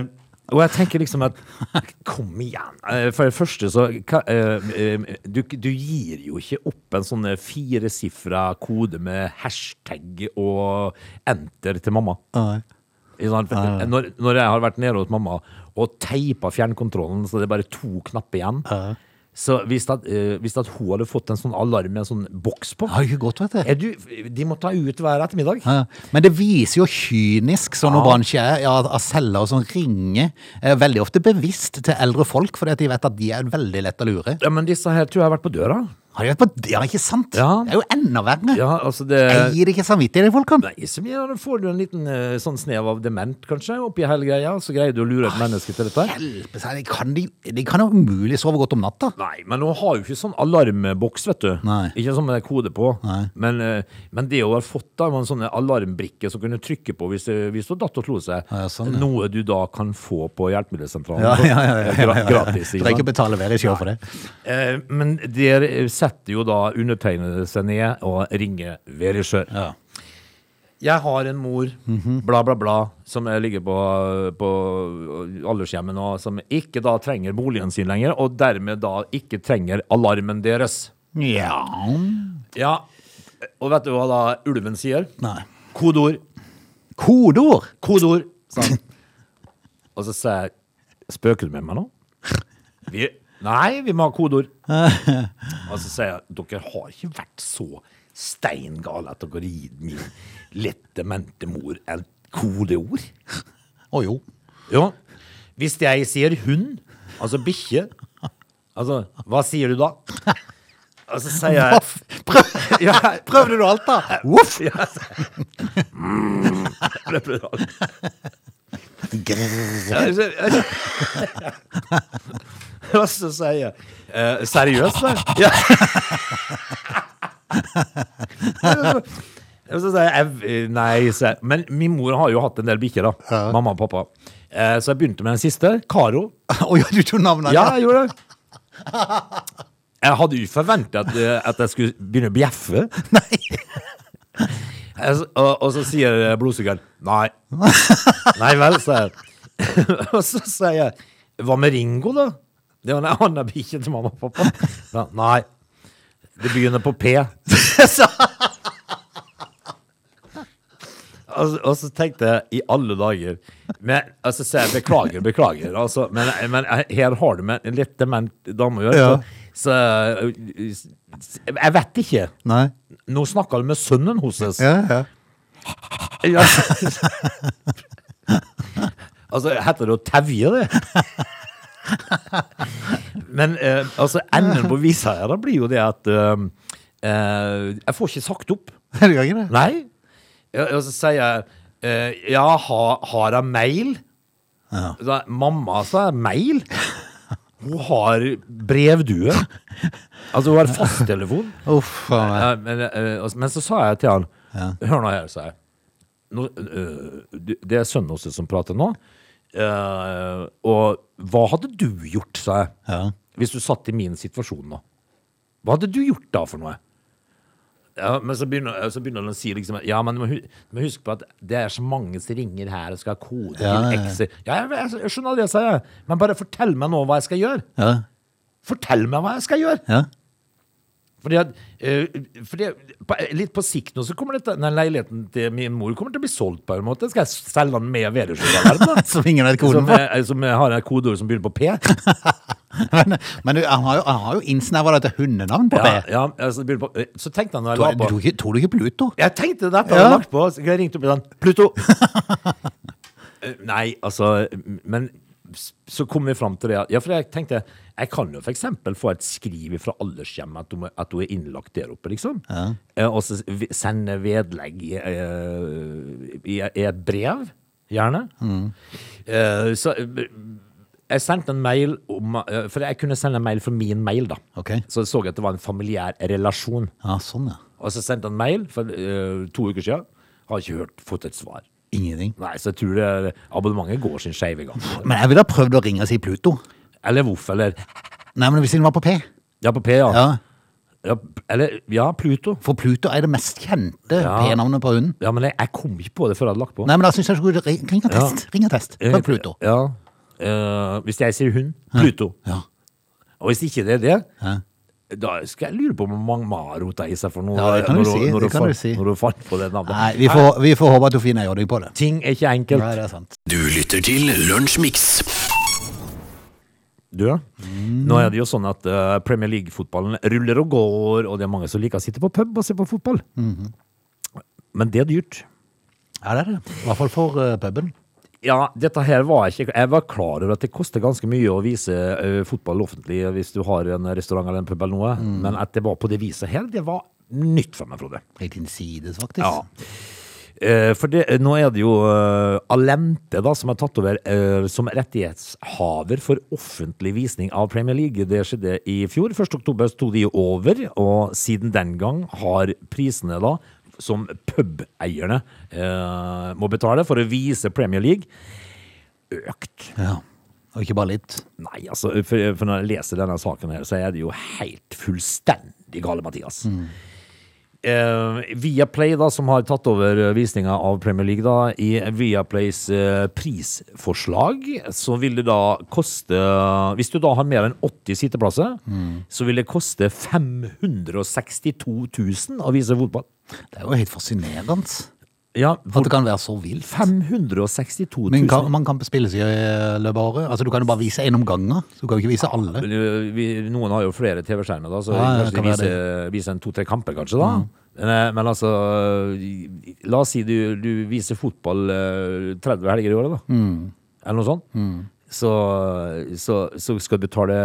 S3: og jeg tenker liksom at kom igjen. Eh, for det første så hva, eh, eh, du, du gir jo ikke opp en sånn firesifra kode med hashtag og enter til mamma.
S1: Nei.
S3: Ikke sant? Når, når jeg har vært nede hos mamma og teipa fjernkontrollen så det er bare to knapper igjen, Så hvis at, eh, hvis at hun hadde fått en sånn alarm med en sånn boks på
S1: Det har jo ikke gått, vet du.
S3: er du, De må ta ut hver ettermiddag.
S1: Ja, Men det viser jo kynisk sånn noen bransje er, ja, at selgere som ringer eh, veldig ofte bevisst til eldre folk, fordi at de vet at de er veldig lett å lure.
S3: Ja, men disse her tror jeg har vært på døra.
S1: Har de vært på Ja, ikke sant?
S3: Ja.
S1: Det er jo enda verre.
S3: Ja, altså det...
S1: Jeg gir ikke samvittighet i folkene.
S3: Nei, så mye, da får du en liten eh, sånn snev av dement, kanskje, oppi hele greia, så greier du å lure et menneske til dette.
S1: Hjelpe seg, de kan, de, de kan jo umulig sove godt om natta.
S3: Nei, men hun har jo ikke sånn alarmboks, vet du.
S1: Nei.
S3: Ikke sånn med det kode på.
S1: Nei.
S3: Men, eh, men det hun har fått da, var en sånn alarmbrikke som kunne trykke på hvis, det- hvis du datt og slo seg.
S1: Ja, sånn, ja.
S3: Noe du da kan få på hjelpemiddelsentralen.
S1: Ja, ja, ja, ja, ja,
S3: Gra-
S1: ja.
S3: Gratis. ikke
S1: Trenger ikke
S3: sant?
S1: betale mer i sjø for det.
S3: Eh, Men der eh, setter jo da undertegnede seg ned og ringer Veri Sjør.
S1: Ja.
S3: Jeg har en mor, bla, bla, bla, som eh, ligger på, på aldershjemmet nå, som ikke da trenger boligen sin lenger, og dermed da ikke trenger alarmen deres.
S1: Ja.
S3: Ja, og vet du hva da ulven sier?
S1: Nei.
S3: Kodeord,
S1: Kodeord!
S3: kodeord, sa han. Og så sier jeg, spøker du med meg nå? Vi, nei, vi må ha kodeord.
S1: <laughs>
S3: Og så sier jeg, dere har ikke vært så steingale at dere gir min lett demente mor et kodeord.
S1: Å jo.
S3: Jo. Hvis jeg sier hund, altså bikkje, altså, hva sier du da? Og så sier jeg
S1: Voff. Prøv,
S3: ja,
S1: prøvde du alt,
S3: <laughs>
S1: da? Voff!
S3: ja, Mm. Det ble rart. Ja, jeg ser- jeg ser- Og så sier jeg eh, Seriøst, da? Ja. Og så sier jeg eh, Nei, sier jeg. Men min mor har jo hatt en del bikkjer, da. Mamma og pappa. Eh, Så jeg begynte med den siste. Karo.
S1: Å ja, du tok navnet?
S3: Ja, jeg gjorde det. Jeg hadde jo forventa at, eh, at jeg skulle begynne å bjeffe. Nei. <laughs> Og, og så sier blodsugeren nei. Nei vel, sier jeg. <laughs> Og så sier jeg hva med Ringo, da? Det var en annen bikkje til mamma og pappa. Ja, Nei. Det begynner på P. <laughs> Og, og så tenkte jeg, i alle dager men, altså, så jeg, Beklager, beklager. Altså, men, men her har du med en litt dement dame å gjøre.
S1: Ja.
S3: Så, så Jeg vet ikke.
S1: Nei.
S3: Nå snakker du med sønnen hennes.
S1: Ja, ja.
S3: Ja. <laughs> altså, heter det å tevje det? <laughs> Men eh, altså, enden på visa her da blir jo det at eh, eh, jeg får ikke sagt opp.
S1: Du gjør ikke det?
S3: Nei. Ja, Og så sier jeg eh, ja, ha, har jeg mail? Da, mamma sa mail. Hun har brevdue. Altså, hun har fasttelefon.
S1: Uff a meg.
S3: Ja, men, eh, altså, men så sa jeg til han Hør nå her, sa jeg. Nå, eh, du- det er sønnen hos deg som prater nå. Eh, og hva hadde du gjort, sa jeg,
S1: Ja.
S3: hvis du satt i min situasjon nå? Hva hadde du gjort da for noe? Ja, men så begynner, eh, så begynner han å si liksom Ja, men du må, hu du må huske på at det er så mange som ringer her og skal ha
S1: Ja,
S3: kode til
S1: ja, ja.
S3: X-er. Ja, jeg, jeg, jeg skjønner det, sa jeg. Men bare fortell meg nå hva jeg skal gjøre.
S1: Ja.
S3: Fortell meg hva jeg skal gjøre!
S1: Ja.
S3: Fordi at, eh, fordi på, Litt på sikt nå så kommer dette, den leiligheten til min mor kommer til å bli solgt på en måte. Skal jeg selge den med vedrørsalarm?
S1: <laughs> Som ingen vet koden
S3: <laughs> Som,
S1: for.
S3: eh, som har et kodeord som begynner på P.
S1: Men, men du, han har jo, han har jo innsnevra det til hundenavn på
S3: Ja,
S1: B.
S3: ja, altså, det begynner på eh, så tenkte han da jeg
S1: Du
S3: la
S1: har- Du
S3: på
S1: tok ikke- tok du ikke Pluto?
S3: Jeg tenkte det etter
S1: Ja.
S3: jeg hadde lagt på, så jeg ringte opp og sa Pluto!
S1: <laughs>
S3: Eh, Nei, altså Men s- så kom vi fram til det at- Ja, for jeg tenkte Jeg kan jo for eksempel få et skriv fra aldershjemmet at, du må- at hun er innlagt der oppe, liksom. Eh, Og så vi- sende vedlegg i, eh, i, i et brev, gjerne.
S1: Mm.
S3: Eh, så eh, jeg sendte en mail om eh, For jeg kunne sende en mail fra min mail, da.
S1: Ok.
S3: Så jeg så at det var en familiær relasjon.
S1: Ja, sånn, ja.
S3: Og så sendte han mail for eh, to uker siden. Har ikke hørt, fått et svar.
S1: Ingenting.
S3: Nei, så jeg tror det, abonnementet går sin skeive gang.
S1: Men jeg ville ha prøvd å ringe og si Pluto.
S3: Eller hvorfor, eller
S1: Nei, men hvis den var på P.
S3: Ja, på P, ja.
S1: Ja,
S3: ja eller Ja, Pluto.
S1: For Pluto er det mest kjente
S3: Ja.
S1: P-navnet på hunden.
S3: Ja, men jeg, jeg kom ikke på det før jeg hadde lagt på.
S1: Nei, men da syns jeg du skulle ri- ring og test. Ring og test. Prøv Pluto.
S3: Ja. Eh, hvis jeg sier hun, Pluto.
S1: Ja.
S3: Og hvis ikke det er det,
S1: Ja.
S3: da skal jeg lure på om mamma har rota i seg for noe.
S1: Ja, det kan du
S3: når,
S1: si,
S3: når,
S1: det kan
S3: fant,
S1: du si.
S3: når du fant på det navnet.
S1: Nei, vi får, vi får håpe at du finner en ordning på det.
S3: Ting er ikke enkelt.
S1: Nei, det er sant.
S2: Du lytter til Lunsjmix.
S3: død. Nå er det jo sånn at eh, Premier League-fotballen ruller og går, og det er mange som liker å sitte på pub og se på fotball. Men det er dyrt.
S1: Ja, det er det. I hvert fall for eh, puben.
S3: Ja, dette her var jeg ikke Jeg var klar over at det koster ganske mye å vise eh, fotball offentlig hvis du har en restaurant eller en pub eller noe, men at det var på det viset her, det var nytt for meg, Frode.
S1: Helt innsides, faktisk.
S3: Ja. Eh, For det, nå er det jo eh, Alente da, som er tatt over eh, som rettighetshaver for offentlig visning av Premier League. Det skjedde i fjor. 1. oktober sto de over, og siden den gang har prisene da, som pubeierne eh, må betale for å vise Premier League, økt.
S1: Ja. Og ikke bare litt.
S3: Nei, altså, for, for når jeg leser denne saken her, så er det jo helt fullstendig gale, Mathias.
S1: Mm.
S3: Eh, Viaplay, da, som har tatt over eh, visninga av Premier League, da, i Viaplays eh, prisforslag, så vil det da koste Hvis du da har mer enn 80 sitteplasser,
S1: Mm.
S3: så vil det koste 562 000 å vise fotball.
S1: Det er jo helt fascinerende
S3: Ja,
S1: at
S3: hvor,
S1: det kan være så vilt.
S3: 562 000.
S1: Men kan, man kan spille seg i løpet av året. Altså, du kan jo bare vise én om gangen. Så du kan jo ikke vise alle.
S3: Men, ø, vi, noen har jo flere TV-skjermer, da, så
S1: Ja, ja,
S3: kanskje
S1: kan
S3: de
S1: være Mm.
S3: viser, viser en to-tre kamper, kanskje. da. Men, ø, men altså ø, La oss si du, du viser fotball ø, 30 helger i året, da.
S1: Mm.
S3: Eller noe sånt. Så, så, så skal du betale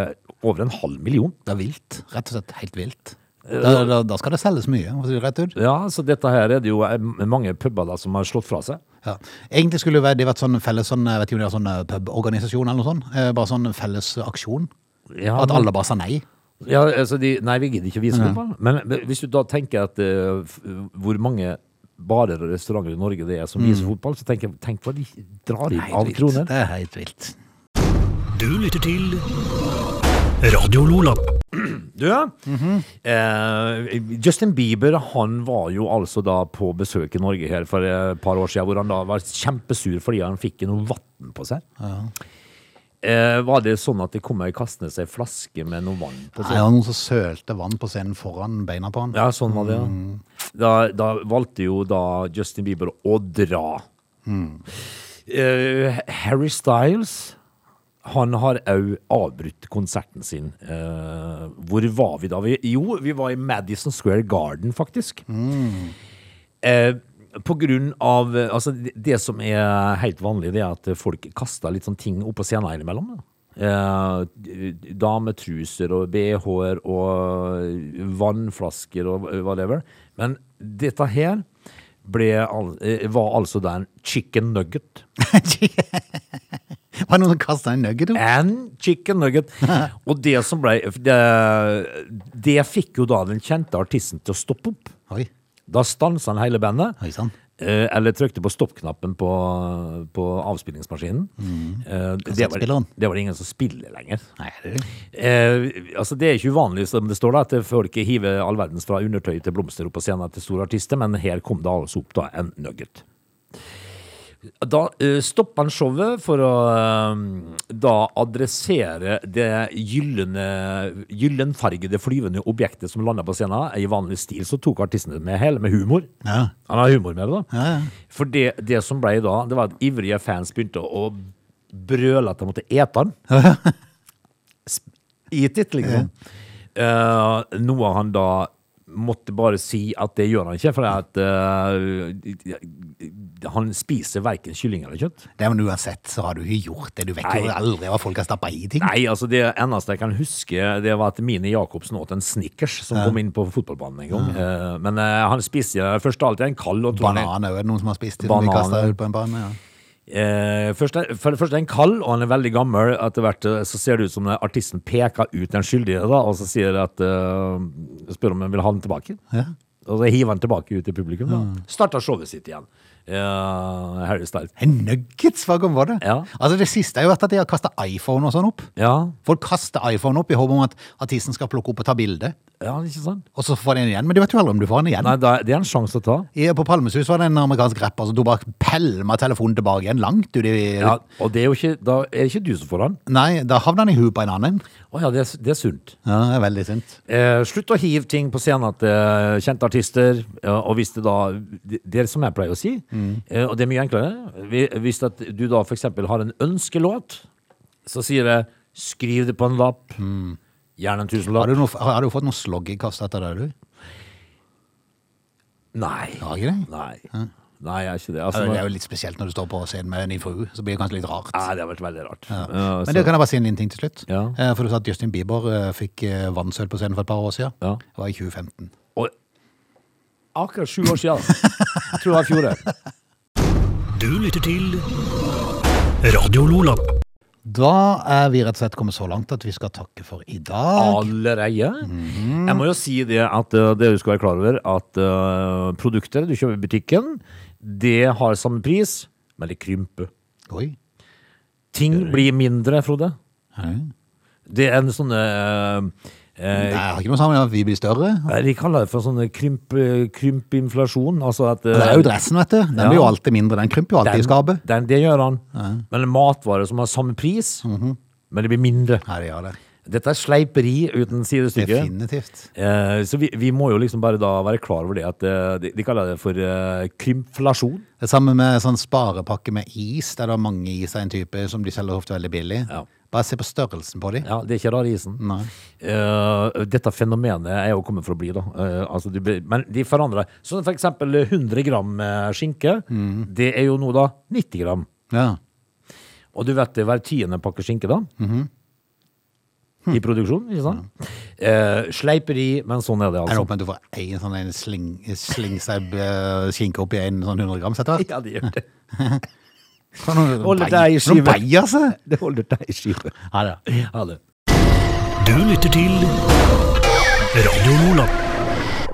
S3: over en halv million.
S1: Det er vilt. Rett og slett helt vilt. Da, da, da skal det selges mye, for å si det rett ut.
S3: Ja, så dette her er det jo ø, mange puber da som har slått fra seg.
S1: Ja. Egentlig skulle det vært- det vært sånn felles sånn, jeg vet ikke om det er sånn eh, puborganisasjon eller noe sånt. Eh, Bare sånn felles aksjon.
S3: Ja,
S1: At
S3: men-
S1: alle bare sa nei.
S3: Ja, altså de, nei, vi gidder ikke vise fotball. Men hvis du da tenker at eh, f- hvor mange barer og restauranter i Norge det er som viser fotball, så tenk, tenk hva de drar inn av
S1: Helt vilt. Mm.
S3: kroner.
S1: Det er helt vilt.
S2: Du lytter til Radio Lola.
S3: Du, ja.
S1: Mhm.
S3: eh, Justin Bieber han var jo altså da på besøk i Norge her for eh, et par år siden, hvor han da var kjempesur fordi han fikk noe vann på seg. Eh, var det sånn at det kom ei kastende seg flaske med noe vann
S1: Nei,
S3: på seg?
S1: det var noen som sølte vann på scenen foran beina på han.
S3: Ja, sånn var det, ja. Da, da valgte jo da Justin Bieber å dra. Eh, Harry Styles, han har òg avbrutt konserten sin. Eh, hvor var vi da? Vi, jo, vi var i Madison Square Garden, faktisk. Eh, på grunn av eh, altså, det- Det som er helt vanlig, det er at folk kaster litt sånn ting opp på scenen innimellom. da. Eh, d- dametruser og BH-er og vannflasker og whatever. Men dette her ble, al- eh, var altså da en chicken nugget.
S1: <laughs> Var det noen som kasta en nugget opp?
S3: And chicken nugget. Og det som ble det, det fikk jo da den kjente artisten til å stoppe opp.
S1: Oi,
S3: Da stansa han hele bandet.
S1: Oi sann.
S3: Eh, Eller trykte på stoppknappen på, på avspillingsmaskinen. Eh, det, var,
S1: Kassettspilleren.
S3: det var det ingen som spiller lenger.
S1: Nei, det er
S3: Eh, altså Det er ikke uvanlig, som det står, da, at folk hiver all verdens fra undertøy til blomster opp på scenen til store artister, men her kom det altså opp da en nugget. Da uh, stoppa han showet for å eh, da adressere det gyllene, gyllenfargede flyvende objektet som landa på scenen. I vanlig stil så tok artisten det med hele, med humor.
S1: Ja.
S3: Han har humor med det, da.
S1: Ja, ja.
S3: For det, det som ble da, det var at ivrige fans begynte å brøle at de måtte ete den. Sp- Eat it, liksom. Eh, noe han da måtte bare si at det gjør han ikke, for det er at eh, han spiser verken kylling eller kjøtt.
S1: Det, men uansett så har du ikke gjort det. Du vet jo
S3: Nei.
S1: aldri hva folk har stappa i ting.
S3: Nei, altså det eneste jeg kan huske, det var at Mini Jacobsen åt en Snickers som kom inn på fotballbanen en gang. Eh, men eh, han spiste først alltid en kald og tror han-
S1: Banan er det noen som har spist. Som
S3: Banan,
S1: de kastet
S3: ja.
S1: ut på en bane, ja.
S3: Eh, først er, for det første er han kald, og han er veldig gammel. Etter hvert eh, så ser det ut som eh, artisten peker ut den skyldige, da, og så sier det at eh, Spør om han vil ha den tilbake. Og så hiver han tilbake ut til publikum. Da. Starter showet sitt igjen. Eh, Harry Styles.
S1: En nuggets, hva var det?
S3: Ja.
S1: Altså Det siste har jo vært at de har kasta iPhone og sånn opp.
S3: Ja,
S1: Folk kaster iPhone opp i håp om at artisten skal plukke opp og ta bilde,
S3: ja, ikke sant?
S1: og så får de den igjen. Men du vet jo aldri om du får den igjen.
S3: Nei, da, det er en sjanse å ta.
S1: I, på Palmesus var det en amerikansk rapper som tok bare pælma telefonen tilbake igjen, langt ut i
S3: Ja, og det er jo ikke, da er det ikke du som får den.
S1: Nei, da havna han i huet på en annen.
S3: Å ja, det, er- det er sunt.
S1: Ja, det er veldig synd.
S3: Eh, slutt å hive ting på scenen til eh, kjente artister. ja, og hvis det da Det, det er som jeg pleier å si,
S1: Mm.
S3: eh, og det er mye enklere Hvi- Hvis at du da f.eks. har en ønskelåt, så sier jeg Skriv det på en lapp. Gjerne
S1: Mm.
S3: en
S1: Har
S3: tusenlapp.
S1: du, noe, har har du fått noe sloggekast etter deg, du?
S3: Nei.
S1: Har ikke det?
S3: Nei. Nei, jeg er ikke det.
S1: Ja,
S3: Altså,
S1: Det er jo litt spesielt når du står på scenen med din frue, så blir det kanskje litt rart.
S3: Nei, det har vært veldig rart. Ja,
S1: Men det kan jeg bare si en liten ting til slutt.
S3: altså- Ja.
S1: Eh, For du sa at Justin Bieber eh, fikk eh, vannsøl på scenen for et par år siden.
S3: Ja.
S1: Det var i 2015.
S3: Og akkurat sju år siden. Jeg tror det var i fjor. det.
S2: Du lytter til Radio Lola.
S1: Da er vi rett og slett kommet så langt at vi skal takke for i dag.
S3: Allerede?
S1: Mhm.
S3: Jeg må jo si det at eh, dere skal være klar over at eh, produkter du kjøper i butikken, det har samme pris, men det krymper.
S1: Oi.
S3: Ting blir mindre, Frode.
S1: Nei,
S3: Det er en sånn eh, eh,
S1: det har ikke noe sammen med at vi blir større.
S3: Nei, De kaller det for sånn krymp, krympinflasjon. Altså at,
S1: Det er jo dressen, vet du. Den
S3: Ja.
S1: blir jo alltid mindre. Den krymper jo alltid i skapet.
S3: Den, det gjør han. Men en matvare som har samme pris, men det blir mindre.
S1: Mhm. Ja, det gjør det.
S3: Dette er sleiperi uten sidestykke.
S1: Definitivt.
S3: Eh, så vi, vi må jo liksom bare da være klar over det at eh, de, de kaller det for eh, krympflasjon.
S1: Det samme med sånn sparepakke med is, der det er mange is av en type som de selger ofte veldig billig.
S3: Ja.
S1: Bare se på størrelsen på de.
S3: Ja, det er ikke rar isen.
S1: Nei.
S3: Mm. Eh, dette fenomenet er jo kommet for å bli, da. Eh, altså, de, blir- men de forandrer. Sånn for eksempel 100 gram eh, skinke, det er jo nå da 90 gram.
S1: Ja.
S3: Og du vet det hver tiende pakke skinke da I produksjon, ikke sant? Eh, sleiperi, men sånn er det
S1: Er det
S3: altså
S1: åpent at du får en sånn en sling, slingseib eh, skinke oppi en sånn 100 grams etter hvert?
S3: <laughs> Ja, det gjør det
S1: Faen, noen
S3: Hold
S1: bei-
S3: deg i skive.
S1: noen beier seg!
S3: Det holder deg i skive
S1: Ja, det er.
S3: Ha det
S2: Du lytter til Radio Lola.